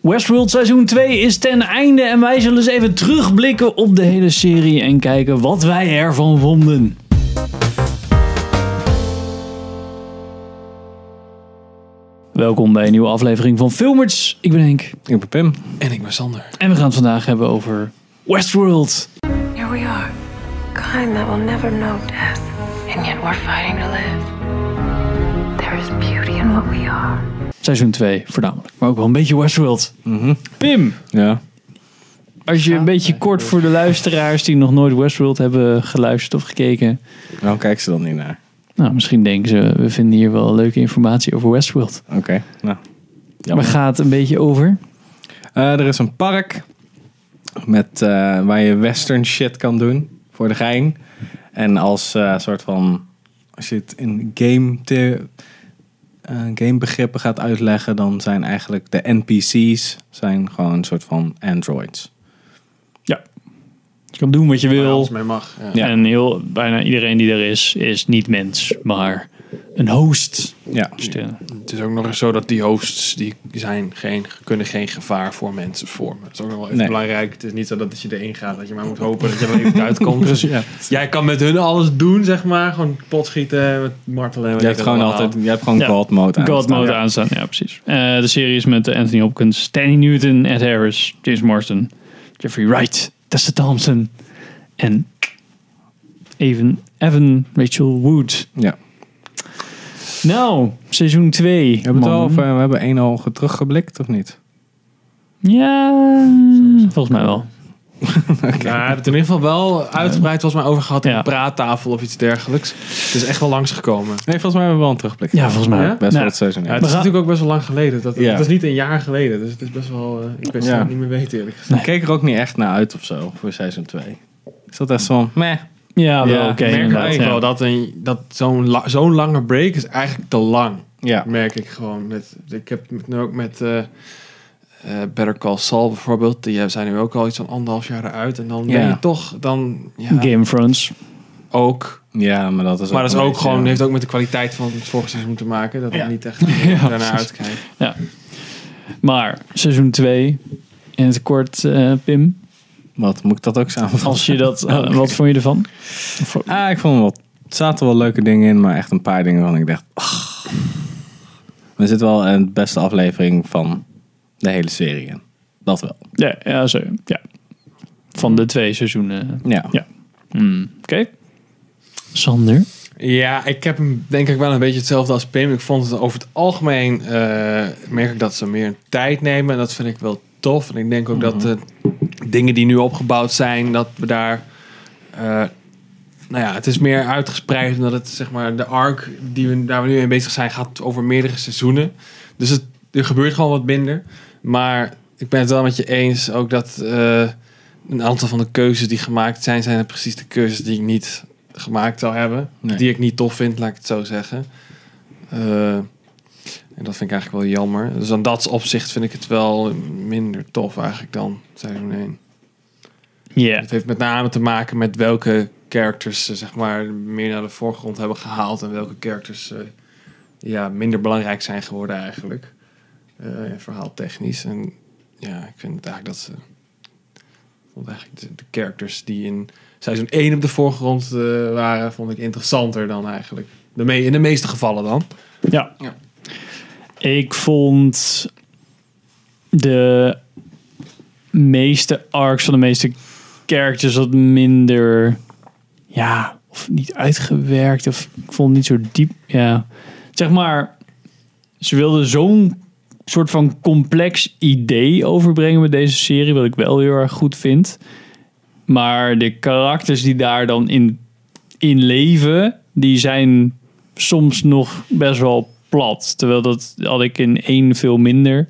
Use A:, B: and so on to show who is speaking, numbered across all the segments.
A: Westworld seizoen 2 is ten einde en wij zullen eens even terugblikken op de hele serie en kijken wat wij ervan vonden. Welkom bij een nieuwe aflevering van Filmers. Ik ben Henk
B: Ik ben Pim.
C: En ik ben Sander.
A: en we gaan het vandaag hebben over Westworld.
D: Here we are, kind that will never know death, and yet we're fighting to live. There is beauty in what we are.
A: Seizoen 2 voornamelijk, maar ook wel een beetje Westworld.
B: Mhm.
A: Pim,
B: Ja.
A: als je een beetje kort voor de luisteraars die nog nooit Westworld hebben geluisterd of gekeken.
B: Waarom kijken ze dan niet naar?
A: Nou, misschien denken ze, we vinden hier wel leuke informatie over Westworld.
B: Oké, nou.
A: Maar
B: jammer.
A: gaat een beetje over?
B: Eh, er is een park met, eh, waar je western shit kan doen voor de gein. En als eh, soort van, als je het in game the- eh, gamebegrippen gaat uitleggen, dan zijn eigenlijk de NPC's zijn gewoon een soort van androids.
A: Je kan doen wat je wil.
C: Als mee mag. Ja.
A: En heel, bijna iedereen die er is, is niet mens, maar een host.
B: Ja.
A: Dus de-
C: Het is ook nog eens zo dat die hosts, die zijn geen, kunnen geen gevaar voor mensen vormen. Dat is ook nog wel even
B: Nee.
C: belangrijk. Het is niet zo dat als je erin gaat, dat je maar moet hopen dat je er even uitkomt. Dus
B: ja.
C: jij kan met hun alles doen, zeg maar. Gewoon pot schieten, met martelen. en
B: Je
C: weet
B: hebt
C: ik
B: gewoon
C: allemaal.
B: altijd, je hebt gewoon
A: Ja.
B: God mode aan.
A: God mode aanstaan, ja precies. Eh, de serie is met Anthony Hopkins, Stanley Newton, Ed Harris, James Marsden, Jeffrey Wright, Tessa Thompson en even Evan Rachel Wood.
B: Ja.
A: Nou, seizoen 2.
B: We hebben, het al over- we hebben één al teruggeblikt, of niet?
A: Ja, volgens mij wel.
C: Ja, het in ieder geval wel uitgebreid volgens mij over gehad in
A: Ja.
C: een praattafel of iets dergelijks. Het is echt wel langsgekomen.
B: Nee, volgens mij hebben we wel een terugblik.
A: Ja, volgens mij.
C: Ja?
B: Best
A: Nou,
B: wel het seizoen.
C: Ja,
B: ja.
C: het
A: We
C: is
A: gaan-
C: natuurlijk ook best wel lang geleden. Dat,
B: Ja.
C: Het is niet een jaar geleden, dus het is best wel... eh, ik weet
B: Ja.
C: het niet meer weten eerlijk gezegd.
B: Ik keek er ook niet echt naar uit of zo voor seizoen 2. Ik zat echt zo van, meh.
A: Ja, wel oké.
B: Ja, merk
C: Ik merk
A: inderdaad,
C: eigenlijk
A: ja.
C: wel dat, een- dat zo'n la- zo'n lange break is eigenlijk te lang.
B: Ja.
C: Merk ik gewoon. Met, ik heb het nu ook met eh, eh, Better Call Saul bijvoorbeeld. Die eh, zijn nu ook al iets van anderhalf jaar eruit. En dan ben
B: Ja.
C: je toch dan ja,
A: Game Fronts.
C: ook.
B: Ja, maar dat is
C: Maar dat is
B: een
C: ook
B: beetje-
C: gewoon, heeft ook met de kwaliteit van het vorige seizoen te maken. Dat
A: Ja.
C: ik niet echt eh,
A: Ja,
C: daarnaar
A: precies.
C: uitkijk.
A: Maar seizoen 2, in het kort, eh, Pim.
B: Wat, moet ik dat ook samenvatten?
A: Als je
B: Oh,
A: dat, eh, wat vond je ervan? Of-
B: Ah, ik vond hem wel... Er zaten wel leuke dingen in, maar echt een paar dingen waarvan ik dacht... ach. We zitten wel in de beste aflevering van de hele serie in. Dat wel.
A: Ja, ja, zo. Ja. Van de twee seizoenen.
B: Ja.
A: Ja. Hmm, Oké. Sander.
C: Ja, ik heb hem denk ik wel een beetje hetzelfde als Pim. Ik vond het over het algemeen eh, merk ik dat ze meer tijd nemen. En dat vind ik wel tof. En ik denk ook dat de dingen die nu opgebouwd zijn, dat we daar. eh, nou ja, het is meer uitgespreid omdat het zeg maar de arc die we daar we nu mee bezig zijn gaat over meerdere seizoenen. Dus het, er gebeurt gewoon wat minder. Maar ik ben het wel met je eens ook dat eh, een aantal van de keuzes die gemaakt zijn, zijn precies de keuzes die ik niet gemaakt zou hebben.
B: Nee.
C: Die ik niet tof vind, laat ik het zo zeggen. Eh, en dat vind ik eigenlijk wel jammer. Dus aan dat opzicht vind ik het wel minder tof eigenlijk dan seizoen 1.
A: Ja.
C: Het heeft met name te maken met welke characters eh, zeg maar, meer naar de voorgrond hebben gehaald. En welke characters eh, ja, minder belangrijk zijn geworden eigenlijk. Eh, ja, verhaaltechnisch. En ja, ik vind het eigenlijk dat ze... ik Vond eigenlijk de, de characters die in seizoen 1 op de voorgrond eh, waren, vond ik interessanter dan eigenlijk. De me- in de meeste gevallen dan.
A: Ja.
C: Ja.
A: Ik vond de meeste arcs van de meeste characters wat minder, ja, of niet uitgewerkt. Of ik vond het niet zo diep. Ja, zeg maar, ze wilden zo'n soort van complex idee overbrengen met deze serie, wat ik wel heel erg goed vind. Maar de karakters die daar dan in, in leven, die zijn soms nog best wel plat. Terwijl dat had ik in één veel minder.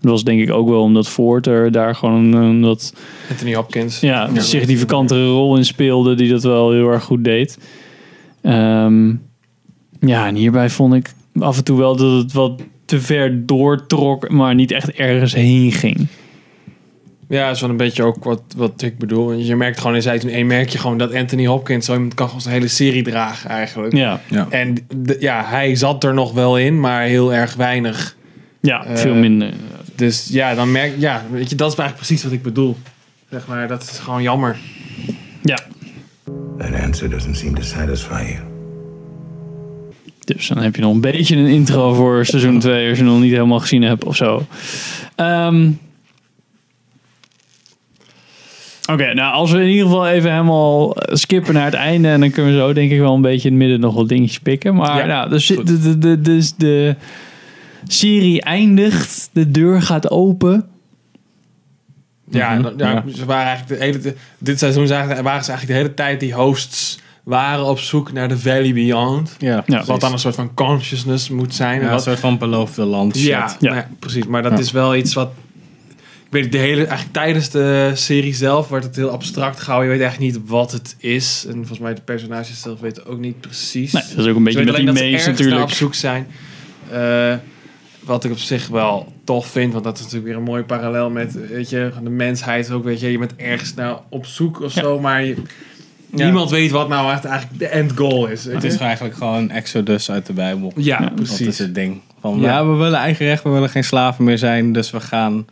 A: Dat was denk ik ook wel omdat Ford er daar gewoon een, een wat
C: Anthony Hopkins.
A: ja, een significantere rol in speelde. Die dat wel heel erg goed deed. Ehm, ja, en hierbij vond ik af en toe wel dat het wat te ver doortrok. Maar niet echt ergens heen ging.
C: Ja, dat is wel een beetje ook wat, wat ik bedoel. Want Je merkt gewoon in seizoen 1 merk je gewoon dat Anthony Hopkins zo iemand kan gewoon zijn hele serie dragen eigenlijk.
A: Ja,
B: Ja.
C: En d- ja, hij zat er nog wel in, maar heel erg weinig.
A: ja
C: Eh,
A: veel minder.
C: dus ja, dan merk ja, weet je, dat is eigenlijk precies wat ik bedoel. Zeg maar, dat is gewoon jammer.
A: Ja,
E: That answer doesn't seem to satisfy you.
A: dus dan heb je nog een beetje een intro voor seizoen 2 als je nog niet helemaal gezien hebt of zo. Ehm, Oké, nou als we in ieder geval even helemaal eh, skippen naar het einde. En dan kunnen we zo denk ik wel een beetje in het midden nog wat dingetjes pikken. Maar
C: Ja,
A: nou, dus de, de, de, dus de serie eindigt. De deur gaat open.
C: Ja,
B: Mhm,
C: dat- ja,
B: ja.
C: Ze waren eigenlijk de hele, de- dit seizoen zagen- waren ze eigenlijk de hele tijd die hosts waren op zoek naar de Valley Beyond.
B: Ja,
A: Ja,
C: Wat dan een soort van consciousness moet zijn. en
B: Ja, een
C: wat,
B: soort van beloofde land shit.
C: ja,
A: Ja.
C: nou ja, precies. Maar dat
B: Ja.
C: is wel iets wat. Ik weet niet, de hele, eigenlijk tijdens de serie zelf werd het heel abstract gehouden. Je weet eigenlijk niet wat het is. En volgens mij de personages zelf weten ook niet precies.
A: Nee, dat is ook een beetje
C: Ze
A: met
C: weten
A: die
C: alleen dat ze
A: mees
C: ergens naar op
A: natuurlijk.
C: zoek zijn. Eh, wat ik op zich wel tof vind, want dat is natuurlijk weer een mooi parallel met weet je, de mensheid ook. Weet je, je bent ergens naar op zoek of zo, maar je-
B: Ja.
C: niemand weet wat nou echt eigenlijk de end goal is.
B: Het is eigenlijk gewoon Exodus uit de Bijbel.
C: ja,
B: Dat is
C: precies.
B: het ding. Van,
C: Ja.
B: ja. we willen eigen recht, we willen geen slaven meer zijn, dus we gaan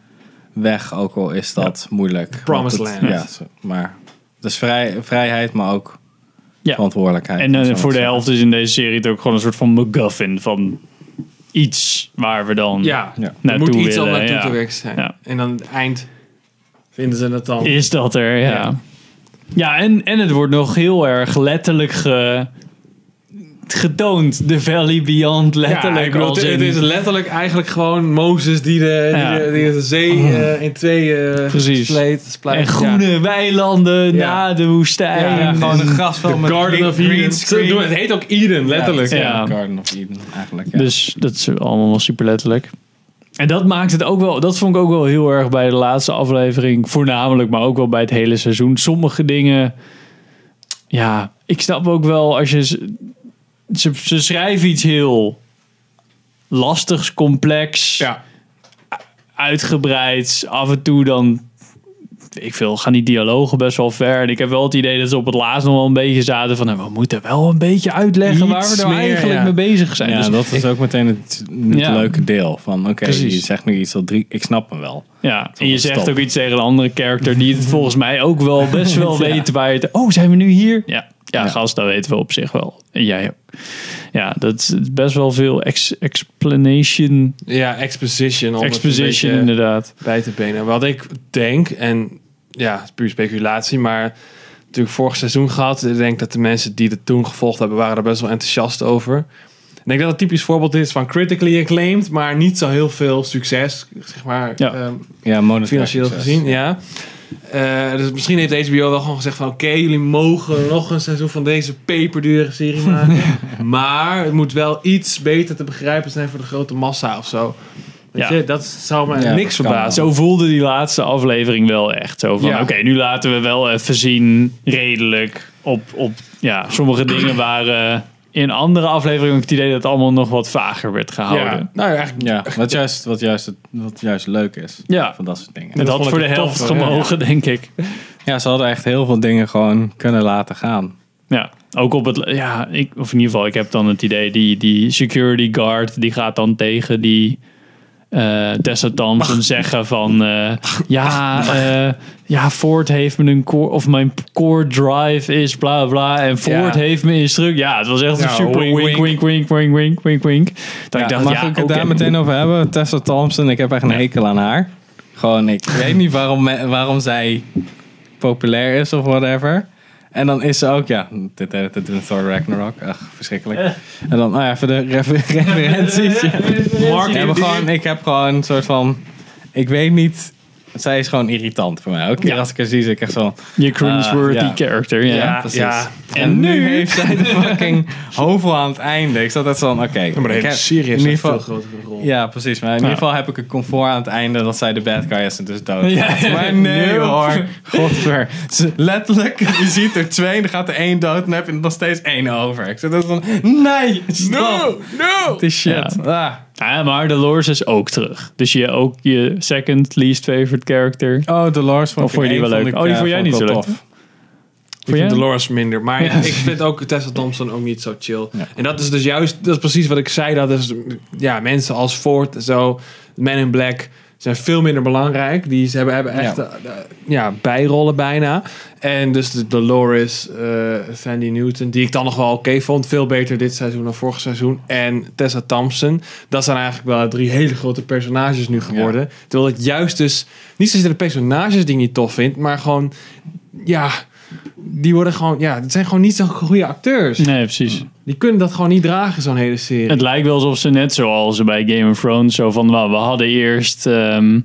B: weg, ook al is dat moeilijk.
C: Promised
B: Want het-
C: land.
B: Ja, zo- maar dus vrij, vrijheid, maar ook
A: Ja.
B: verantwoordelijkheid.
A: En eh,
B: om zo
A: voor
B: te
A: de
B: zeggen.
A: helft is in deze serie het ook gewoon een soort van MacGuffin van iets waar we dan
C: Ja,
B: Ja.
C: er
A: naartoe
C: moet iets om
A: willen,
C: naartoe
A: ja.
C: te werken zijn.
A: Ja.
C: En aan het eind vinden ze het dan.
A: Is dat er, ja. Ja,
C: Ja.
A: en, en het wordt nog heel erg letterlijk ge- getoond. The Valley Beyond letterlijk.
C: Ja, ik bedoel,
A: als
C: het,
A: in-
C: het is letterlijk eigenlijk gewoon Mozes die de,
A: Ja. Oh.
C: die de, die de zee eh, in twee eh
A: Precies.
C: spleet. splijt.
A: en groene weilanden
C: Ja.
A: na de woestijn.
C: Ja,
B: Ja,
A: Ja,
B: gewoon een grasveld
C: Ja.
B: met
C: Garden
B: green-
C: of
B: green
C: Eden.
B: screen.
C: Zo- Het heet ook Eden, letterlijk.
B: Ja, het is,
A: Ja.
B: ja, Garden of Eden eigenlijk. Ja.
A: Dus dat is allemaal wel super letterlijk. En dat maakt het ook wel, dat vond ik ook wel heel erg bij de laatste aflevering. Voornamelijk, maar ook wel bij het hele seizoen. Sommige dingen, ja, ik snap ook wel als je. z- Ze, ze schrijven iets heel lastigs, complex.
C: Ja.
A: uitgebreid. Af en toe dan, weet ik veel, gaan die dialogen best wel ver. En ik heb wel het idee dat ze op het laatst nog wel een beetje zaten van... nou, we moeten wel een beetje uitleggen waar we
C: Iets
A: nou
C: meer,
A: eigenlijk
C: ja.
A: mee bezig zijn.
B: ja,
A: Dus-
B: dat is ook meteen het, het
A: Ja.
B: leuke deel. Van oké,
A: Precies.
B: je zegt nu iets dat drie... Ik snap hem wel.
A: ja. En je
B: wel
A: zegt
B: stap.
A: ook iets tegen een andere character die het volgens mij ook wel best wel weet waar je... het- Oh, zijn we nu hier? Ja. Ja,
B: Ja.
A: gast, dat weten we op zich wel. En jij ook. Ja, dat is best wel veel ex- explanation,
C: ja, exposition. Om het een
A: exposition
C: beetje
A: inderdaad.
C: bij te benen. Wat ik denk, en ja, het is puur speculatie, maar natuurlijk vorig seizoen gehad. Ik denk dat de mensen die het toen gevolgd hebben, waren er best wel enthousiast over. Ik denk dat het een typisch voorbeeld is van critically acclaimed, maar niet zo heel veel succes, zeg maar,
A: Ja.
C: ehm,
B: Ja, monetair
C: financieel
B: succes.
C: gezien. Ja. Eh, dus misschien heeft HBO wel gewoon gezegd van oké, jullie mogen nog een seizoen van deze peperdure serie maken. maar het moet wel iets beter te begrijpen zijn voor de grote massa of zo. Weet
A: Ja.
C: je, dat zou me
B: Ja,
C: niks
B: dat kan
C: verbazen.
A: Zo voelde die laatste aflevering wel echt. Zo van,
C: Ja.
A: oké, nu laten we wel even zien, redelijk, op, op ja, sommige dingen waren in andere afleveringen ook het idee dat het allemaal nog wat vager werd
C: Ja,
A: gehouden.
C: nou ja, eigenlijk
B: Ja, wat juist, wat, juist, het- wat juist leuk is.
A: Ja,
B: Van dat soort dingen.
A: dat,
C: dat
A: had
C: vond ik
A: voor de
C: het
A: helft
C: tof, hoor.
A: gemogen, denk ik.
B: Ja, ze hadden echt heel veel dingen gewoon kunnen laten gaan.
A: Ja, ook op het, ja, ik, of in ieder geval, ik heb dan het idee, die, die security guard, die gaat dan tegen die eh Tessa Thompson zeggen van, eh, ja, eh, ja, Ford heeft me een core, of mijn core drive is bla bla, en Ford
C: Ja.
A: heeft me instruct. Ja, het was echt
C: Ja,
A: een super
C: wink,
A: wink, wink, wink, wink, wink, wink, wink, Dat ik dacht,
B: mag
A: ja,
B: ik het
A: oké.
B: daar meteen over hebben? Tessa Thompson, ik heb echt een hekel aan haar. Gewoon, ik weet niet waarom, me- waarom zij populair is of whatever. En dan is ze ook, ja, dit deed het in Thor Ragnarok. Ach, verschrikkelijk.
A: Eh.
B: En dan, nou ja, even de refer- referenties.
A: Mark,
B: Ik heb, gewoon, ik heb gewoon een soort van, ik weet niet, zij is gewoon irritant voor mij. Ook keer
A: Ja.
B: als ik haar zie, zit ik echt zo van,
A: je cringeworthy
B: Ah, ja.
A: character, ja.
C: Ja.
B: precies. En, nu heeft zij de fucking hovel aan het einde. Ik zat echt zo van, oké.
C: maar de
B: ik
C: hele
B: heb-
C: serie
B: in
C: heeft
B: ieder
C: een
B: geval-
C: veel grotere rol.
B: Ja, precies. Maar in ieder geval heb ik een comfort aan het einde dat zij de bad guy is en dus dood. gaat. Maar nee
A: Nee,
B: hoor. Godver. Ze- Letterlijk, je ziet er twee en dan gaat er één dood en dan heb je er nog steeds één over. Ik zit echt van, nee, stop.
C: no!
B: Het is shit.
A: Ah, maar Dolores is ook terug. Dus je ook je second least favorite character.
B: Ah. Oh, Dolores vond
A: Of vond je die
B: één
A: wel leuk?
B: ik,
A: Oh, die
B: eh,
A: vond jij
B: ik
A: niet
B: wel
A: zo leuk?
B: tof.
C: Ik
A: jij?
C: vind Dolores minder, maar ik vind ook Tessa Thompson ook niet zo chill. En dat is dus juist, dat is precies wat ik zei, dat is, ja, mensen als Ford en zo, Men in Black, zijn veel minder belangrijk. Die ze hebben, hebben echt ja. ja, bijrollen bijna. En dus de Dolores, eh Sandy Newton, die ik dan nog wel oké vond. Veel beter dit seizoen dan vorig seizoen. En Tessa Thompson. Dat zijn eigenlijk wel drie hele grote personages nu geworden. Terwijl ik juist dus, niet zozeer de personages die ik niet tof vind, maar gewoon, ja, die worden gewoon, ja, het zijn gewoon niet zo'n goede acteurs.
A: Nee, precies.
C: Die kunnen dat gewoon niet dragen, zo'n hele serie.
A: Het lijkt wel alsof ze net zoals bij Game of Thrones zo van, nou, we hadden eerst ehm,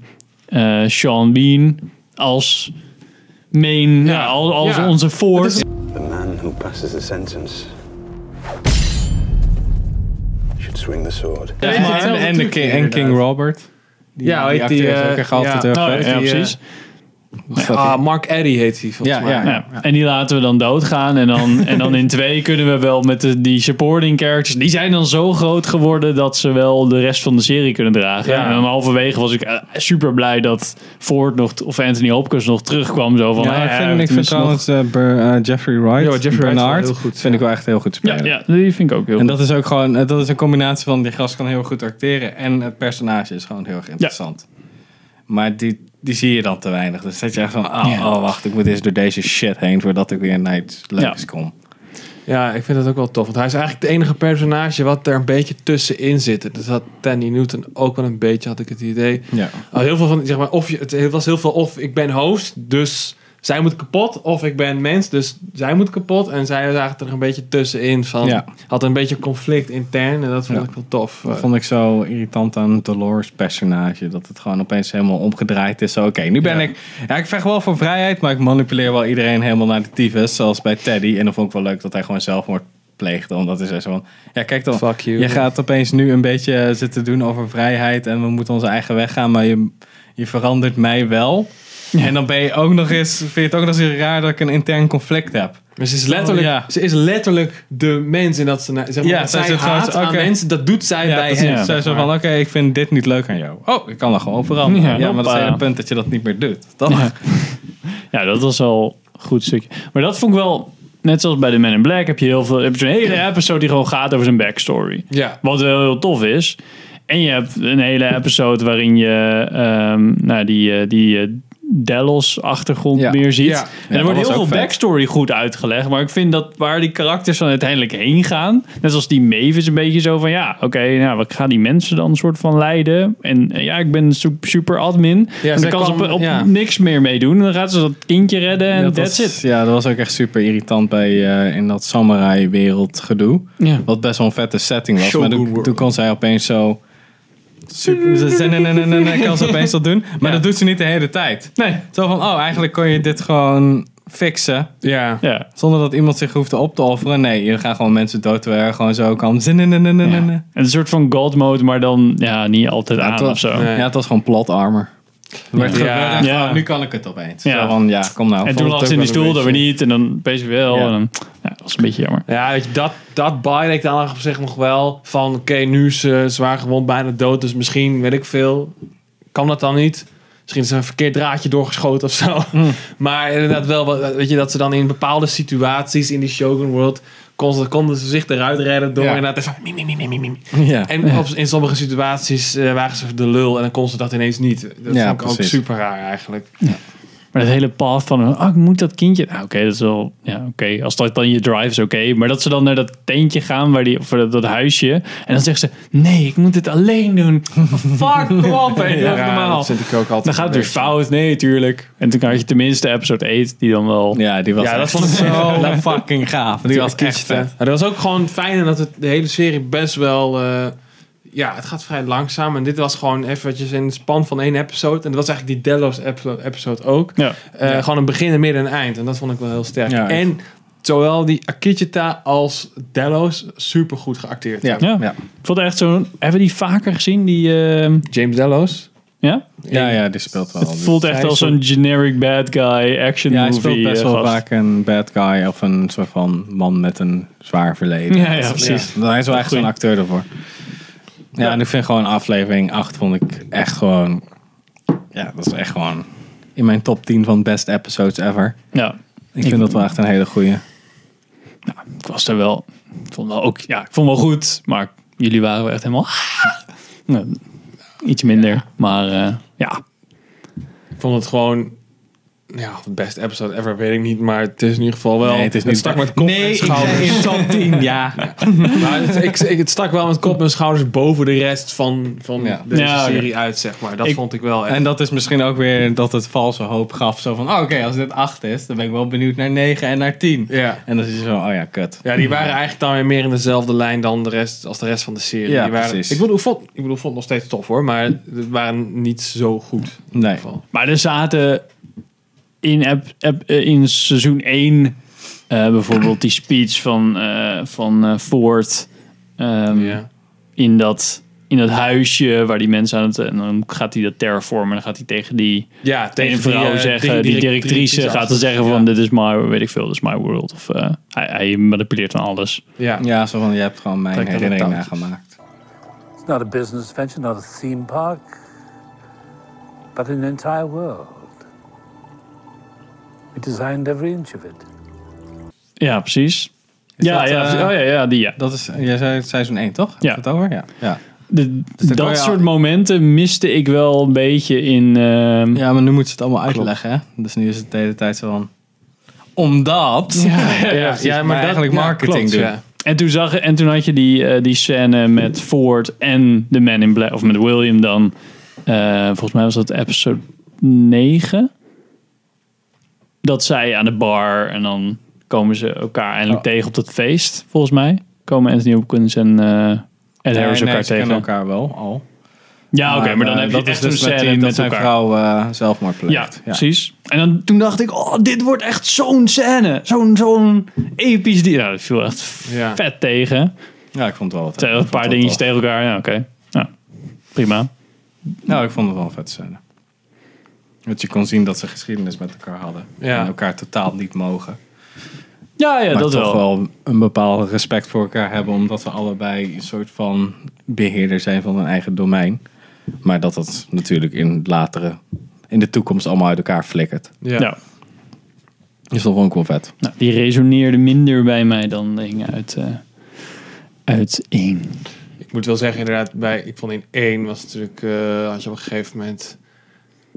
A: eh, Sean Bean als main, ja, als, als
C: ja.
A: onze force.
F: The man who passes the sentence should swing the sword.
C: Ja,
B: En- en, en, de King, en King Robert. Die,
C: Ja,
B: die
C: heet die,
B: acteur is
C: eh,
B: ook echt altijd
C: ja.
B: heel
A: Oh,
B: vet.
A: ja,
C: die, eh,
A: precies.
B: Wat staat
C: Ah,
B: hier?
C: Mark Eddy heet hij volgens
B: Ja,
C: mij.
B: ja.
A: Ja. En die laten we dan doodgaan. En dan, en dan in twee kunnen we wel met de, die supporting characters. Die zijn dan zo groot geworden dat ze wel de rest van de serie kunnen dragen.
C: Ja.
A: En dan halverwege was ik eh, super blij dat Ford nog, t- of Anthony Hopkins nog terugkwam. Zo van,
B: Ja,
A: nou
B: ik
A: ja,
B: vind, ik vind
A: tenminste nog-
B: trouwens eh, Ber- eh, Jeffrey Wright,
C: Ja, Jeffrey Wright
B: Bernard,
C: is wel heel goed,
B: vind ik
C: ja.
B: wel echt heel goed spelen.
A: ja, ja, die vind ik ook heel
B: En dat is ook gewoon, eh, dat is een combinatie van die gast kan heel goed acteren en het personage is gewoon heel erg interessant. Maar die, die zie je dan te weinig. Dus dat je echt van, oh,
A: Ja.
B: oh, wacht, ik moet eerst door deze shit heen voordat ik weer naar iets leuks
A: Ja.
B: kom.
C: Ja, ik vind dat ook wel tof. Want hij is eigenlijk het enige personage wat er een beetje tussenin zit. Dus dat Tandy Newton ook wel een beetje, had ik het idee.
B: Ja.
C: Al Heel veel van, zeg maar, of je, het was heel veel of ik ben host, dus zij moet kapot. Of ik ben mens, dus zij moet kapot. En zij was eigenlijk er een beetje tussenin van.
B: Ja.
C: Had een beetje conflict intern en dat vond
B: Ja.
C: ik wel tof.
B: Dat vond ik zo irritant aan het Dolores personage. Dat het gewoon opeens helemaal omgedraaid is. Zo, Oké, nu ben
C: Ja.
B: ik... Ja, ik vecht wel voor vrijheid, maar ik manipuleer wel iedereen helemaal naar de tyfus. Zoals bij Teddy. En dan vond ik wel leuk dat hij gewoon zelfmoord pleegde. Omdat hij zei zo van... Ja, kijk dan.
C: Fuck you.
B: Je gaat opeens nu een beetje eh, zitten doen over vrijheid. En we moeten onze eigen weg gaan. Maar je, je verandert mij wel. En dan ben je ook nog eens... Vind je het ook nog eens raar dat ik een intern conflict heb.
C: Maar ze is letterlijk,
B: Oh, ja.
C: ze is letterlijk de mens in dat ze zeg maar,
B: Ja,
C: wat
B: zij
C: zij
B: zit gewoon
C: haat
B: zo,
C: aan
B: oké.
C: mensen. Dat doet zij
B: Ja,
C: bij
B: dat
C: hem.
B: is zo
C: zeg
B: zo
C: maar.
B: van, oké, ik vind dit niet leuk aan jou. Oh, ik kan dat gewoon veranderen.
A: Ja,
B: Ja, maar dat is
A: hoppa.
B: het hele punt dat je dat niet meer doet. Toch?
A: Ja, dat was al een goed stukje. Maar dat vond ik wel, net zoals bij de Men in Black, heb je heel veel. Heb je zo'n hele episode die gewoon gaat over zijn backstory.
C: Ja.
A: Wat wel heel tof is. En je hebt een hele episode waarin je ehm, nou, die, eh, die eh, Delos achtergrond
B: Ja.
A: meer ziet.
C: Ja. Ja,
A: En er
B: dat
A: wordt
B: was
A: heel veel
B: ook vet.
A: backstory goed uitgelegd. Maar ik vind dat waar die karakters dan uiteindelijk heen gaan. Net als die Maeve is een beetje zo van ja, oké, nou, ik ga die mensen dan een soort van leiden. En eh, ja, ik ben su- super admin.
C: Ja,
A: en
C: zij
A: dan kan ze op,
C: kwam-
A: op
C: ja.
A: niks meer mee doen. Dan gaat ze dat kindje redden en
B: dat
A: that's
B: was,
A: it.
B: Ja, dat was ook echt super irritant bij eh, in dat samurai wereld gedoe.
A: Ja.
B: Wat best wel een vette setting was.
C: Shogun
B: maar toen,
C: world.
B: toen kon zij opeens zo. Super, ze- ze- nee, nee, nee, nee, nee, kan ze opeens dat doen. Maar dat doet ze niet de hele tijd.
A: Nee.
B: Zo van, oh, eigenlijk kon je dit gewoon fixen.
C: Ja.
A: Ja.
B: Zonder dat iemand zich hoeft op te offeren. Nee, je gaat gewoon mensen dood terwijl je gewoon zo kan. Nee, nee, nee, nee, nee,
A: Ja.
B: nee.
A: Het is Een soort van god mode, maar dan ja, niet altijd
B: eh, Ja,
A: aan
B: het was-
A: of zo.
C: Nee.
B: Ja, het was gewoon plot armor. Er werd
C: Ja.
B: gewerkt,
A: Ja.
B: oh, nu kan ik het opeens.
A: Ja.
B: Zo van, ja, kom nou.
A: En toen
C: het
A: lag ze
C: ook
A: in die
C: wel een
A: stoel, dat we
C: beetje-
A: niet. En dan bezig wel.
B: Ja.
A: En dan, ja, dat was een beetje jammer.
C: Ja, weet je, dat, dat baarde ik dan op zich nog wel. Van, oké, nu is ze zwaar gewond, bijna dood. Dus misschien, weet ik veel, kan dat dan niet. Misschien is er een verkeerd draadje doorgeschoten of zo. Maar inderdaad wel, wat- weet je, dat ze dan in bepaalde situaties in die Shogun World... kon ze- konden ze zich eruit redden door
B: Ja.
C: inderdaad even... mie, mie, mie, mie, mie, mie.
B: Ja.
C: En op, in sommige situaties eh, waren ze de lul en dan kon ze dat ineens niet. Dat
B: Ja,
C: vond ik
B: precies.
C: ook super raar eigenlijk.
A: Maar dat hele path van, oh, ik moet dat kindje. Nou, oké, dat is wel, ja, oké. Als dat dan je drive is, oké. Maar dat ze dan naar dat teentje gaan, waar die, of dat, dat huisje. En dan zegt ze, nee, ik moet dit alleen doen. Fuck, kom op, hé, dat is normaal.
C: dat vind ik ook altijd.
A: Dan gaat het
C: een
A: weer fout, nee, tuurlijk. En toen had je tenminste episode 8, die dan wel...
B: Ja, die was
C: Ja, dat
B: echt
C: vond ik
B: zo fucking gaaf. Die was echt
C: eh, Maar
B: vet.
C: dat was ook gewoon fijn dat het, de hele serie best wel... eh, ja, het gaat vrij langzaam. En dit was gewoon eventjes in de span van één episode. En dat was eigenlijk die Delos episode- episode ook.
A: Ja.
C: Eh, Gewoon een begin, een midden en eind. En dat vond ik wel heel sterk.
B: Ja, echt.
C: en zowel die Akichita als Delos super goed geacteerd.
B: Ja,
A: Ja.
B: ja. ja.
A: Ik vond het echt zo'n... Hebben we die vaker gezien, die... ehm,
C: James Delos.
A: ja?
B: ja, die speelt wel.
A: Het voelt echt
C: zij
A: als
C: is
A: een generic bad guy action
B: ja, hij
A: movie.
B: speelt best
A: eh,
B: wel
A: gast.
B: vaak een bad guy of een soort van man met een zwaar verleden.
A: Ja, ja, precies.
B: Hij is wel echt
A: Goeie.
B: zo'n acteur daarvoor. Ja, en ik vind gewoon aflevering 8 vond ik echt gewoon... Ja, dat is echt gewoon in mijn top 10 van best episodes ever.
A: Ja.
B: Ik vind dat wel echt een hele goeie.
A: Ik was er wel... Ik vond wel ook... Ja, ik vond wel goed. Maar jullie waren wel echt helemaal... Nou, iets minder. Maar eh, Ja,
C: Ik vond het gewoon... Ja, of het beste episode ever, weet ik niet. Maar het is in ieder geval wel...
B: Nee, het is niet-
C: stak met kop
B: Nee,
C: en
B: ik
C: schouders.
B: zei in top 10, ja.
C: Maar het, ik, ik, het stak wel met kop en schouders boven de rest van, van
B: Ja.
C: deze
A: Ja, oké.
C: serie uit, zeg maar. Dat
A: Ik-
C: vond ik wel echt...
B: En dat is misschien ook weer dat het valse hoop gaf. Zo van, oh, oké, als dit 8 is, dan ben ik wel benieuwd naar 9 en naar 10.
C: ja.
B: En dan is je zo, oh ja, kut.
C: ja, die waren eigenlijk dan weer meer in dezelfde lijn dan de rest, als de rest van de serie.
B: Ja,
C: die waren,
B: precies.
C: Ik bedoel, ik vond, ik bedoel, ik vond het nog steeds tof hoor, maar het waren niet zo goed. In
B: Nee.
C: ieder geval.
A: maar er zaten in, ep- ep- eh, in seizoen 1 bijvoorbeeld die speech van, eh, van eh, Ford. ehm,
B: Mm.
C: Ja.
A: in dat, in dat huisje waar die mensen aan het... En dan gaat hij dat terraformen en dan gaat hij tegen die
C: ja,
A: tegen
C: tegen
A: een vrouw
C: eh,
A: zeggen,
C: tegen
A: die directrice gaat dan
C: achter.
A: zeggen
C: Ja.
A: van dit is my, weet ik veel, dit is my world. Of eh, hij, hij manipuleert van alles.
C: Ja.
B: Ja, zo van, je hebt gewoon mijn
C: Trek aan de
B: herinnering
C: touwtjes.
B: nagemaakt.
G: It's not a business venture, not a theme park, but an entire world. We designed every inch of it.
A: Ja, precies. ja,
B: dat,
A: ja,
B: eh,
A: oh, ja, ja, die, ja.
B: Dat is, jij zei het seizoen 1, toch? Heb je
A: Ja.
B: Het over? Ja. ja.
A: De-
B: dan kan
A: dat
B: je al-
A: soort momenten miste ik wel een beetje in... ehm,
B: Ja, maar nu moeten ze het allemaal uitleggen, hè? Dus nu is het de hele tijd zo van... Omdat...
A: ja,
C: Ja,
A: precies.
C: ja, maar,
B: Maar
C: dat-
B: eigenlijk
C: ja,
B: marketing
C: klopt,
B: doen.
C: ja.
A: En, toen zag, en toen had je die, eh, die scène met Ford en de Man in Black, of met William dan. Eh, volgens mij was dat episode 9. Dat zij aan de bar en dan komen ze elkaar eindelijk
B: Oh.
A: tegen op dat feest, volgens mij. Komen Anthony Hopkins en eh Ed
B: Nee,
A: Harris
B: nee,
A: elkaar
B: ze
A: tegen.
B: kennen elkaar wel al.
A: Ja, oké, maar dan
B: eh,
A: heb je
B: dat
A: echt
B: is
A: een
B: dus met
A: scène
B: die-
A: met,
B: dat zijn
A: elkaar.
B: vrouw eh, zelfmoord pleegt.
A: Ja, precies. En dan, toen dacht ik, oh, dit wordt echt zo'n scène. Zo'n zo'n episch... Die, nou, dat viel echt
C: Ja.
A: vet tegen.
B: Ja, ik vond het wel wat.
A: Zijn er
B: Ik
A: een
B: vond
A: paar
B: het
A: dingetjes
B: wel-
A: tegen elkaar. Ja, oké. Ja, prima.
B: Nou, ik vond het wel een vette scène. Dat je kon zien dat ze geschiedenis met elkaar hadden.
C: Ja.
B: En elkaar totaal niet mogen.
A: Ja, ja
B: maar
A: dat
B: toch
A: wel.
B: wel een bepaald respect voor elkaar hebben. Omdat ze allebei een soort van beheerder zijn van hun eigen domein. Maar dat dat natuurlijk in het latere, in de toekomst allemaal uit elkaar flikkert.
A: Ja.
C: Ja.
B: Dus dat vond ik wel vet.
A: Nou, die resoneerde minder bij mij dan dingen uit, eh uit één.
C: Ik moet wel zeggen, inderdaad, bij, ik vond in één was het natuurlijk, eh, had je op een gegeven moment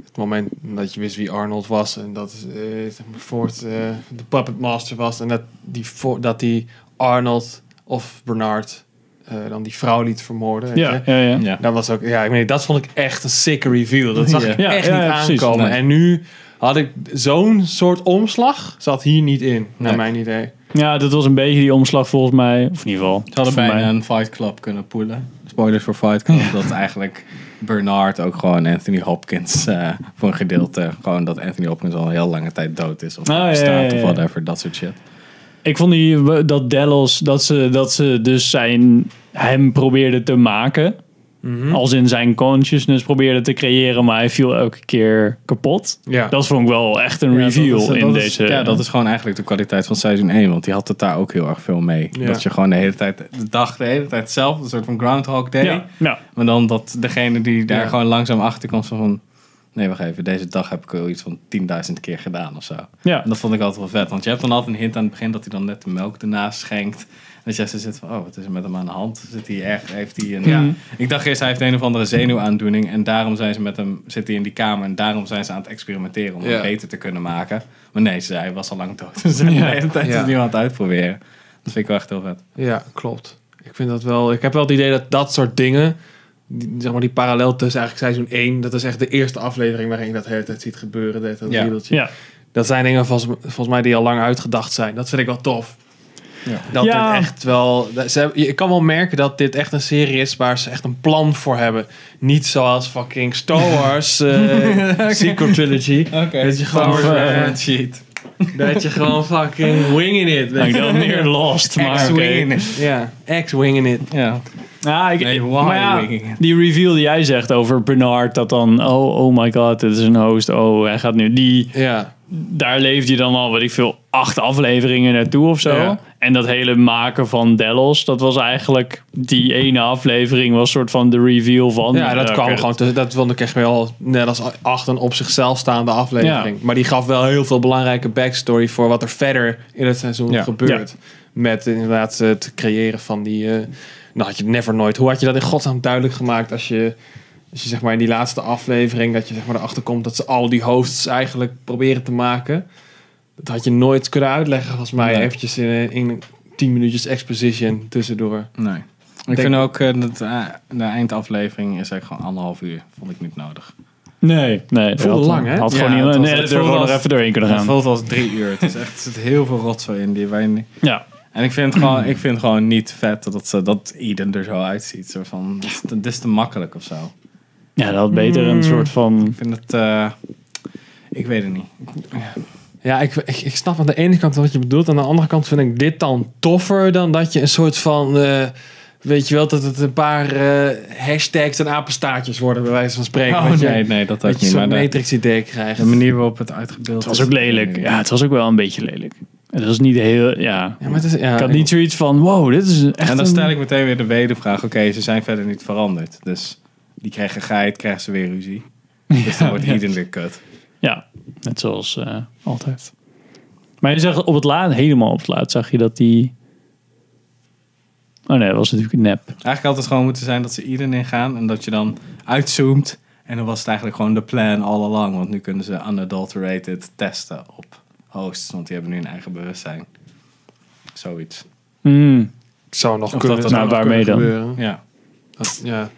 C: het moment dat je wist wie Arnold was en dat eh, zeg maar Ford eh, de puppet master was en dat die, Fo- dat die Arnold of Bernard eh, dan die vrouw liet vermoorden. weet
A: Ja,
C: je.
A: ja, ja.
C: Dat was ook, ja, ik weet niet, dat vond ik echt een sick reveal. Dat zag ik
A: Ja.
C: echt
A: Ja,
C: niet
A: ja, precies.
C: aankomen.
B: Nee.
C: En nu had ik zo'n soort omslag, zat hier niet in, naar
B: Nee.
C: mijn idee.
A: Ja, dat was een beetje die omslag volgens mij. Of in ieder geval.
B: Ze hadden
A: voor
B: bijna
A: mij.
B: een Fight Club kunnen poelen. Spoilers voor Fight Club. Dat eigenlijk Bernard ook gewoon Anthony Hopkins eh, voor een gedeelte. Gewoon dat Anthony Hopkins al een heel lange tijd dood is. Of
A: Ah, ja,
B: op straat
A: ja, ja,
B: of
A: ja.
B: whatever. Dat soort shit.
A: Ik vond die, dat Delos, dat ze, dat ze dus zijn, hem probeerde te maken.
B: Mhm.
A: Als in zijn consciousness probeerde te creëren, maar hij viel elke keer kapot.
C: Ja.
A: Dat vond ik wel echt een
B: Ja, dat
A: reveal
B: is-
A: in
B: dat is-
A: deze.
B: Ja, dat is gewoon eigenlijk de kwaliteit van seizoen 1. Want die had het daar ook heel erg veel mee.
C: Ja.
B: Dat je gewoon de hele tijd, de dag de hele tijd zelf, een soort van Groundhog Day.
A: Ja, ja.
B: Maar dan dat degene die daar
C: Ja.
B: gewoon langzaam achter komt van... Nee, wacht even, deze dag heb ik wel iets van 10.000 keer gedaan of zo.
A: Ja.
B: En dat vond ik altijd wel vet. Want je hebt dan altijd een hint aan het begin dat hij dan net de melk ernaast schenkt. En dat jij zo zit van, oh, wat is er met hem aan de hand? Zit hij echt, heeft hij een... Ik dacht eerst, hij heeft een of andere zenuwaandoening. En daarom zijn ze met hem, zit hij in die kamer. En daarom zijn ze aan het experimenteren om
C: Ja.
B: hem beter te kunnen maken. Maar nee, ze zei, hij was al lang dood. Ze zijn de hele tijd
C: Ja.
B: opnieuw aan het uitproberen. Dat vind ik wel echt heel vet.
C: Ja, klopt. Ik vind dat wel. Ik heb wel het idee dat dat soort dingen. Die, zeg maar die parallel tussen eigenlijk seizoen 1, dat is echt de eerste aflevering waarin je dat de hele tijd ziet gebeuren. Dat, dat,
B: Ja.
C: riedeltje.
A: ja.
C: dat zijn dingen volgens, volgens mij die al lang uitgedacht zijn. Dat vind ik wel tof.
B: Ja.
C: Dat
A: Ja.
C: dit echt wel. dat Ze, hebben- je kan wel merken dat dit echt een serie is waar ze echt een plan voor hebben. Niet zoals fucking Star Wars eh, sequel trilogy. Dat je gewoon, eh,
B: shit.
C: dat je gewoon fucking winging it.
A: Nou, ik
C: weet je.
A: dacht meer lost, maar oké.
C: Ja, ex winging it.
B: Ja.
A: Ja, ik,
B: Nee, why
A: maar ja,
B: winging it?
A: die reveal die jij zegt over Bernard, dat dan, oh, oh my god, dit is een host, oh, hij gaat nu die,
C: Ja.
A: daar leeft je dan al, weet ik veel, acht afleveringen naartoe of zo.
C: Ja.
A: En dat hele maken van Delos, dat was eigenlijk, die ene aflevering was soort van de reveal van.
C: Ja, dat
A: eh,
C: kwam
A: oké,
C: gewoon. tussen- Dat vond ik echt wel net als acht een op zichzelf staande aflevering.
A: Ja.
C: Maar die gaf wel heel veel belangrijke backstory voor wat er verder in het seizoen
B: Ja.
C: gebeurt. Met inderdaad eh, het creëren van die. eh, nou had je never nooit. Hoe had je dat in godsnaam duidelijk gemaakt als je Dus je zeg maar in die laatste aflevering dat je zeg maar erachter komt dat ze al die hosts eigenlijk proberen te maken. Dat had je nooit kunnen uitleggen volgens mij
B: Nee.
C: eventjes in, eh, in 10 minuutjes exposition tussendoor.
B: Nee. Ik
C: Denk-
B: vind ook eh, dat eh, de eindaflevering is eigenlijk gewoon anderhalf uur. Vond ik niet nodig.
A: Nee, nee. dat
C: voelde
A: had-
C: lang, hè?
A: Had
B: Ja,
A: gewoon
B: het
A: iemand
B: was-
A: een
B: het
A: editor
B: voelde
A: gewoon
B: als-
A: er even doorheen kunnen
B: Het
A: gaan.
B: voelt als drie uur. Het is echt, er zit heel veel rotzooi in die wij niet-
A: Ja.
B: En ik vind, het gewoon, ik vind het gewoon niet vet dat, ze, dat Eden er zo uitziet. Zo van, dat, is te, dat is te makkelijk of zo. Ik
A: ja, dat had beter een soort van...
B: vind het... eh, ik weet het niet.
C: Ja, ik, ik, ik snap aan de ene kant wat je bedoelt. Aan de andere kant vind ik dit dan toffer dan dat je een soort van. eh, weet je wel, dat het een paar eh, hashtags en apenstaartjes worden, bij wijze van spreken.
B: Oh,
C: wat je,
B: nee, nee, dat ook
C: dat je
B: niet. Maar
C: zo'n
B: de,
C: Matrix-idee krijgt.
B: de manier waarop het uitgebeeld is...
A: Het was ook lelijk. Ja, het was ook wel een beetje lelijk. Het was niet heel... Ja.
C: Ja, maar het is, ja,
A: Ik had niet zoiets van, wow, dit is echt
B: En dan
A: een-
B: stel ik meteen weer de wedervraag. Oké, ze zijn verder niet veranderd. Dus die krijgen geit, krijgen ze weer ruzie. Dus dan wordt Eden weer kut.
A: Ja, net zoals eh, altijd. Maar je zag op het laat, helemaal op het laat, zag je dat die... Oh nee, dat was natuurlijk nep.
B: Eigenlijk had het gewoon moeten zijn dat ze Eden ingaan en dat je dan uitzoomt. En dan was het eigenlijk gewoon de plan all along. Want nu kunnen ze unadulterated testen op hosts. Want die hebben nu een eigen bewustzijn. Zoiets.
A: Mm.
C: zou nog
B: Of
C: kunnen.
B: dat-
C: zou
A: nou,
C: nog
A: waarmee
C: kunnen
A: dan?
C: gebeuren.
B: Ja.
C: Dat- ja.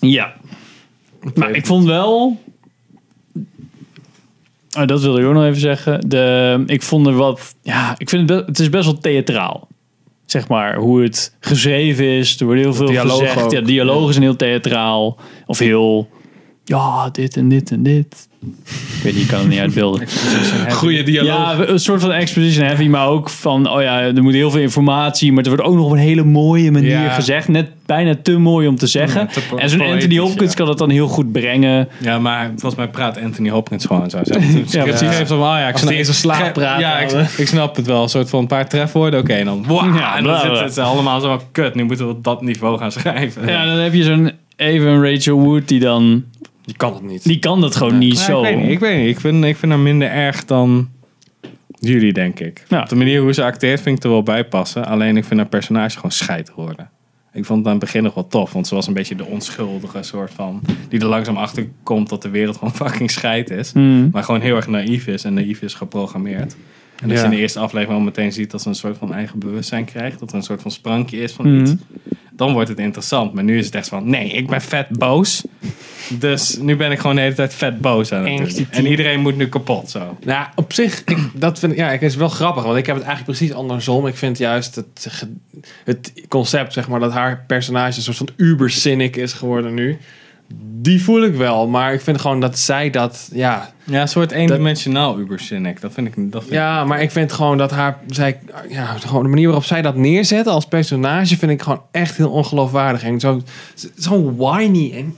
A: Ja. Maar ik vond wel. Oh, dat wilde ik ook nog even zeggen. De, ik vond er wat. Ja, ik vind het, be- het is best wel theatraal. Zeg maar, hoe het geschreven is. Er wordt heel veel
C: dialoog
A: gezegd.
C: ook.
A: Ja, dialoog is een heel theatraal. Of heel. Ja, dit en dit en dit. Ik weet niet, ik kan het niet uitbeelden.
C: Goede dialoog.
A: Ja, een soort van exposition heavy, maar ook van, oh ja, er moet heel veel informatie, maar er wordt ook nog op een hele mooie manier
B: Ja.
A: gezegd. Net bijna te mooi om te zeggen.
B: Ja, te po-
A: en zo'n Anthony
B: poëtisch,
A: Hopkins
B: ja.
A: kan dat dan heel goed brengen.
B: Ja, maar volgens mij praat Anthony Hopkins gewoon zo. Zijn script
A: Ja, precies.
B: geeft hem, ah ja, ik
C: Als die in zijn slaap praat,
B: Ja, ik,
C: dan,
B: ik snap het wel. Een soort van een paar trefwoorden. Oké, en dan. Wow,
A: Ja,
B: en
A: bla,
B: dan
A: bla.
B: zitten ze allemaal zo van, kut. Nu moeten we op dat niveau gaan schrijven.
A: Ja, dan heb je zo'n even Rachel Wood die dan,
C: Je kan het niet.
A: die kan dat gewoon niet
B: Ja,
A: zo.
B: Ik weet niet. Ik, weet niet. Ik, vind, ik vind haar minder erg dan jullie, denk ik.
A: Ja.
B: Op de manier hoe ze acteert vind ik er wel bij passen. Alleen ik vind haar personage gewoon scheid worden. Ik vond het aan het begin nog wel tof. Want ze was een beetje de onschuldige soort van... Die er langzaam achter komt dat de wereld gewoon fucking scheid is.
A: Mm.
B: Maar gewoon heel erg naïef is. En naïef is geprogrammeerd. En dat
C: Ja.
B: je in de eerste aflevering al meteen ziet dat ze een soort van eigen bewustzijn krijgt. Dat er een soort van sprankje
A: Mm.
B: is van iets. Dan wordt het interessant. Maar nu is het echt van, nee, ik ben vet boos. Dus nu ben ik gewoon de hele tijd vet boos aan het doen. En iedereen moet nu kapot zo.
C: Nou, op zich, ik, dat vind ik, ja, ik is wel grappig, want ik heb het eigenlijk precies andersom. Ik vind juist het, ge- het concept, zeg maar, dat haar personage een soort van uber-cynic is geworden nu. Die voel ik wel, maar ik vind gewoon dat zij dat, ja.
B: Ja, een soort eendimensionaal ubercynic. Dat vind ik... Dat vind
C: Ja, maar ik vind gewoon dat haar, zij, ja, gewoon de manier waarop zij dat neerzet als personage vind ik gewoon echt heel ongeloofwaardig. En zo, zo whiny en,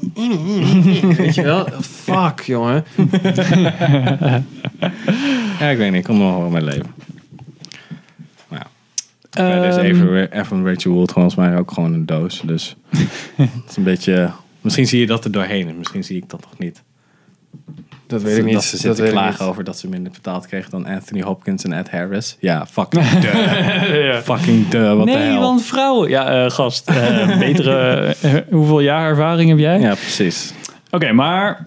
C: weet je wel, fuck jongen.
B: ik- ja, ik weet niet. Ik kon er nog wel mee leven. Maar ja. Verder is
A: Ehm.
B: even, even Rachel Wood volgens mij ook gewoon een doos. Dus het is een beetje... Misschien zie je dat er doorheen. En misschien zie ik dat nog niet.
C: Dat weet ik niet.
B: Dat ze
C: dat
B: zitten
C: weet ik
B: klagen
C: niet.
B: over dat ze minder betaald kregen dan Anthony Hopkins en Ed Harris. Ja, fucking duh. Fucking duh, wat de
A: nee,
B: hel.
A: want vrouwen. Ja, eh, gast. eh, betere. eh, hoeveel jaar ervaring heb jij?
B: Ja, precies.
A: Oké, maar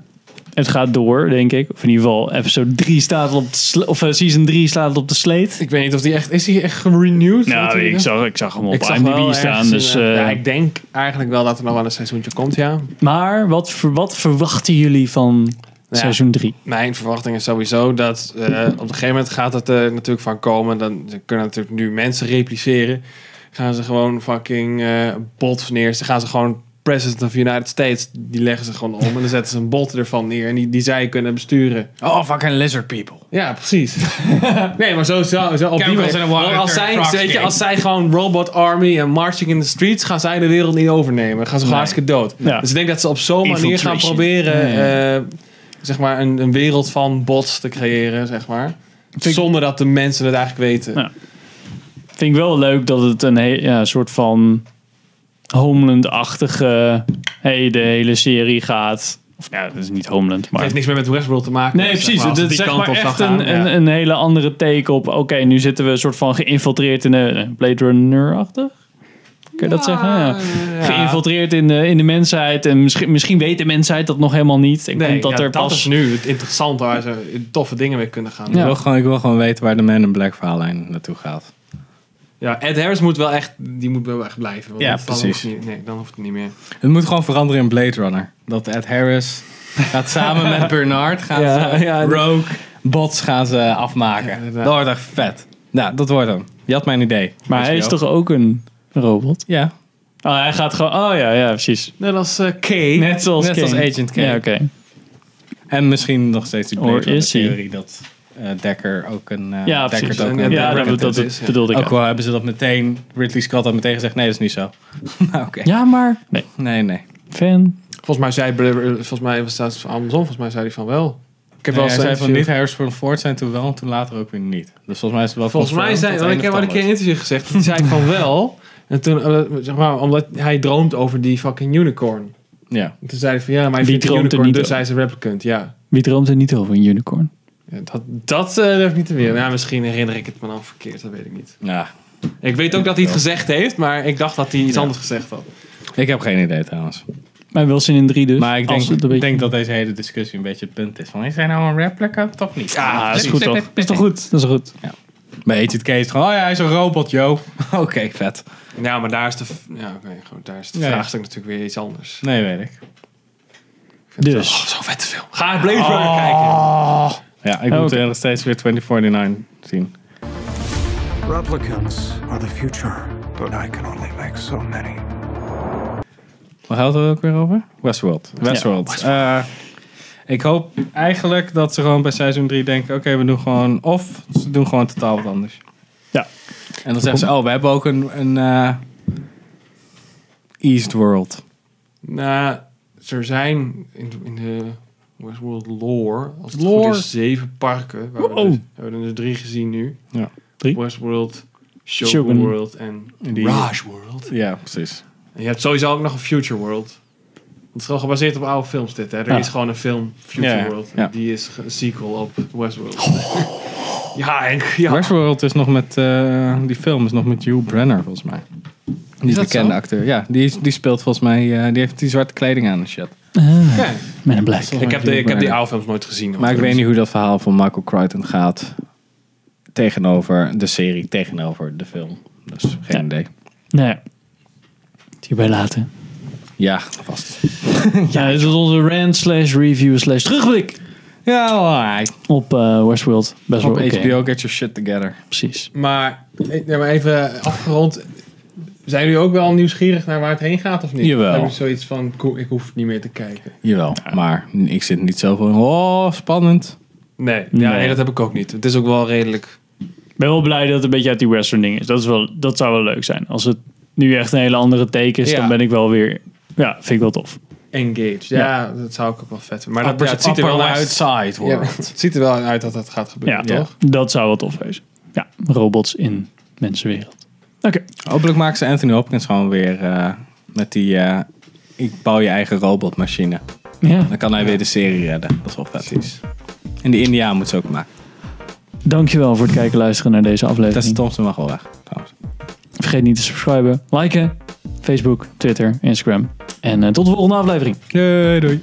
A: het gaat door, denk ik. Of in ieder geval, episode 3 staat op de sle- Of eh, season 3 staat op de sleet.
C: Ik weet niet of die echt, is die echt gerenewd?
A: Nou,
C: Natuurlijk.
A: ik zag, ik zag hem op
C: Ik zag wel
A: IMDb
C: ergens
A: staan.
C: in,
A: Dus,
C: eh,
A: eh,
C: ja, ik denk eigenlijk wel dat er nog wel een seizoentje komt, ja.
A: Maar wat, ver- wat verwachten jullie van
C: Ja.
A: seizoen 3?
C: Mijn verwachting is sowieso dat eh, op een gegeven moment gaat het er natuurlijk van komen. Dan ze kunnen natuurlijk nu mensen repliceren. Gaan ze gewoon fucking eh bot neer. Ze gaan ze gewoon President of the United States, die leggen ze gewoon om. En dan zetten ze een bot ervan neer en die, die zij kunnen besturen.
B: Oh, fucking lizard people.
C: Ja, precies. nee, maar zo, zo, zo op die
B: Chemicals
C: manier.
B: in a water
C: Want Als
B: turn
C: zij,
B: frogs
C: weet je,
B: king.
C: als zij gewoon robot army en marching in the streets, gaan zij de wereld niet overnemen. Dan gaan ze gewoon hartstikke dood.
A: Ja.
C: Dus ik denk dat ze op zo'n manier gaan
A: Infiltration. Hmm.
C: proberen, eh, zeg maar, een, een wereld van bots te creëren, zeg maar.
A: ik-
C: Zonder dat de mensen het eigenlijk weten.
A: Ja. Vind ik wel leuk dat het een he- ja, soort van Homeland-achtige... Hey, de hele serie gaat... Of ja, dat is niet Homeland,
C: Het
A: maar...
C: heeft niks meer met Westworld te maken.
A: Nee,
C: zeg
A: precies.
C: maar, als
A: Het
C: het
A: is
C: die
A: zeg
C: kant
A: maar
C: op zou
A: echt
C: gaan,
A: een,
C: ja.
A: een, een hele andere take op... Oké, nu zitten we soort van geïnfiltreerd in de Blade eh, Runner-achtig. Kan je dat zeggen? Ja. Geïnfiltreerd in de, in de mensheid. En misschien, misschien weet de mensheid dat nog helemaal niet. En komt dat
C: ja,
A: er
C: dat
A: pas...
C: is nu het interessante waar ze toffe dingen mee kunnen gaan.
A: Ja.
C: Ja.
B: wil gewoon, ik wil gewoon weten waar de Man in Black verhaallijn naartoe gaat.
C: Ed Harris moet wel echt, die moet wel echt blijven. want
B: Ja,
C: dan hoeft
B: precies.
C: het niet- nee, dan hoeft het niet meer.
B: Het moet gewoon veranderen in Blade Runner. Dat Ed Harris gaat samen met Bernard, gaan
C: Ja,
B: ze
C: ja.
B: Rogue, bots gaan ze afmaken.
C: inderdaad.
B: dat wordt echt vet. Nou, dat wordt hem. Je had mijn idee.
A: Maar hij is
B: HBO.
A: toch ook een robot?
B: Ja,
A: Oh, hij gaat gewoon... Oh ja, ja, precies.
C: Net als eh, K.
A: Net zoals,
B: Net als Agent Kane.
A: Ja, oké.
B: en misschien nog steeds die Blade
A: Or
B: Runner
A: is hij?
B: theorie dat eh, Dekker ook een... eh
A: Ja,
B: Dekker
A: precies.
B: het ook
C: Ja,
B: een
A: Ja, dat,
C: Dekker
A: dat,
C: het is, ja.
A: bedoelde ik
B: Ook
A: ook.
B: wel hebben ze dat meteen, Ridley Scott had meteen gezegd, nee, dat is niet zo. nou, oké.
A: Ja, maar... Nee,
B: Nee, nee.
A: fan.
C: Volgens mij zei Br- volgens mij was dat andersom. Volgens mij zei hij van wel. Ik heb
B: Nee, hij
C: een
B: zei van
C: interview-
B: niet Harrison Ford zijn toen wel en toen later ook weer niet. Dus volgens mij is het wel
C: Volgens mij
B: confirmed
C: zei
B: dat het
C: want ik heb al
B: een
C: een
B: of
C: keer in
B: ander
C: een interview gezegd. Toen zei ik van wel. En toen, eh, zeg maar, omdat hij droomt over die fucking unicorn.
B: was. Ja.
C: En toen zei hij van ja, maar hij
A: Wie
C: vindt die
A: droomt er
C: unicorn,
A: niet
C: dus
A: over?
C: hij is een replicant. Ja,
A: Wie droomt er niet over een unicorn?
C: Ja, dat, dat eh, durf ik niet te weer. Ja, misschien herinner ik het me dan verkeerd, dat weet ik niet.
B: ja,
C: Ik weet ook dat hij het gezegd heeft, maar ik dacht dat hij iets anders gezegd had.
B: ik heb geen idee trouwens.
A: Maar wel zin in drie dus.
B: Maar ik
A: Als
B: denk,
A: het een beetje-
B: denk dat deze hele discussie een beetje het punt is. Van, is hij nou een replicant of niet? dus
A: Ah, dat is goed toch? Dat is toch goed? Dat is goed.
B: Bij Agent K is het gewoon, oh ja, hij is een robot, yo. Oké, vet.
C: Ja, maar daar is de, v- ja, oké, goed, daar is de
B: Ja.
C: vraagstuk natuurlijk weer iets anders.
B: Nee, weet ik.
A: Dus.
C: Zo vet te veel. Oh. Ga Blade Runner kijken.
B: Ja, ik moet
A: Oh, Oké.
B: er nog steeds weer 2049 zien.
E: Replicants are the future, but I can only make so many.
B: Waar gaat het ook weer over? Westworld. Westworld. Eh, ik hoop eigenlijk dat ze gewoon bij seizoen 3 denken... Oké, we doen gewoon... Of ze doen gewoon totaal wat anders.
A: Ja.
B: En dan zeggen ze... Oh, we hebben ook een... een eh, Eastworld.
C: Nou, er zijn in de, in de Westworld lore, als het
B: Lore.
C: goed is, zeven parken. Waar we,
A: Wow.
C: dus, we hebben er dus drie gezien nu.
B: Ja.
A: Drie?
C: Westworld, Shogun,
A: Shogun.
C: World en
B: Die-
C: Mirage World.
B: Ja, precies.
C: En je hebt sowieso ook nog een Future World. Het is gewoon gebaseerd op oude films dit. Hè? Er
A: Ja.
C: is gewoon een film, Future
B: Ja, ja.
C: World.
B: Ja.
C: Die is ge- een sequel op Westworld. Ja, Henk. Ja.
B: Westworld is nog met... eh, die film is nog met Hugh Brenner, volgens mij. Die
C: Is
B: is
C: dat
B: de bekende
C: zo?
B: acteur. Ja, die, is- die speelt volgens mij... eh, die heeft die zwarte kleding aan en shit.
C: Kijk,
A: Met een black.
C: Ik heb, de, ik heb die oude films nooit gezien.
B: Maar ik weet
C: overigens.
B: niet hoe dat verhaal van Michael Crichton gaat tegenover de serie, tegenover de film. Dus geen
A: Ja.
B: idee.
A: Nee. Hierbij laten.
B: Ja, vast.
A: Ja, dit was onze rant slash review slash terugblik
B: Ja, alright.
A: op eh, Westworld. Best
B: Op
A: wel oké.
B: HBO, get your shit together.
A: Precies.
C: Maar, eh, ja, maar even afgerond. Zijn jullie ook wel nieuwsgierig naar waar het heen gaat of niet?
B: Jawel.
C: Heb je zoiets van, "Koe, ik hoef niet meer te kijken?
B: Jawel, maar ik zit niet zo van, oh, spannend.
C: Nee, ja,
A: Nee.
C: nee, dat heb ik ook niet. Het is ook wel redelijk...
A: Ik ben wel blij dat het een beetje uit die western ding is. Dat, is wel, dat zou wel leuk zijn. Als het nu echt een hele andere teken is,
C: Ja.
A: dan ben ik wel weer... Ja, vind ik wel tof.
C: Engaged. Ja, dat zou ik ook wel vet vinden. Maar dat, ja, het ziet er
B: Upper
C: wel uit.
B: outside,
C: Ja,
B: hoor.
C: het ziet er wel uit dat dat gaat
A: Ja,
C: gebeuren, toch?
A: toch? Dat zou wel tof wezen. Ja, robots in mensenwereld. Oké.
B: Hopelijk maken ze Anthony Hopkins gewoon weer eh, met die, eh, ik bouw je eigen robotmachine.
A: Ja.
B: Dan kan hij weer de serie redden. Dat is wel vet. Precies. En die Indiaan moet ze ook maken.
A: Dankjewel voor het kijken en luisteren naar deze aflevering.
B: Tessa Thompson mag wel weg, trouwens.
A: Vergeet niet te subscriben, liken, Facebook, Twitter, Instagram. En eh, tot de volgende aflevering.
B: Jee, doei.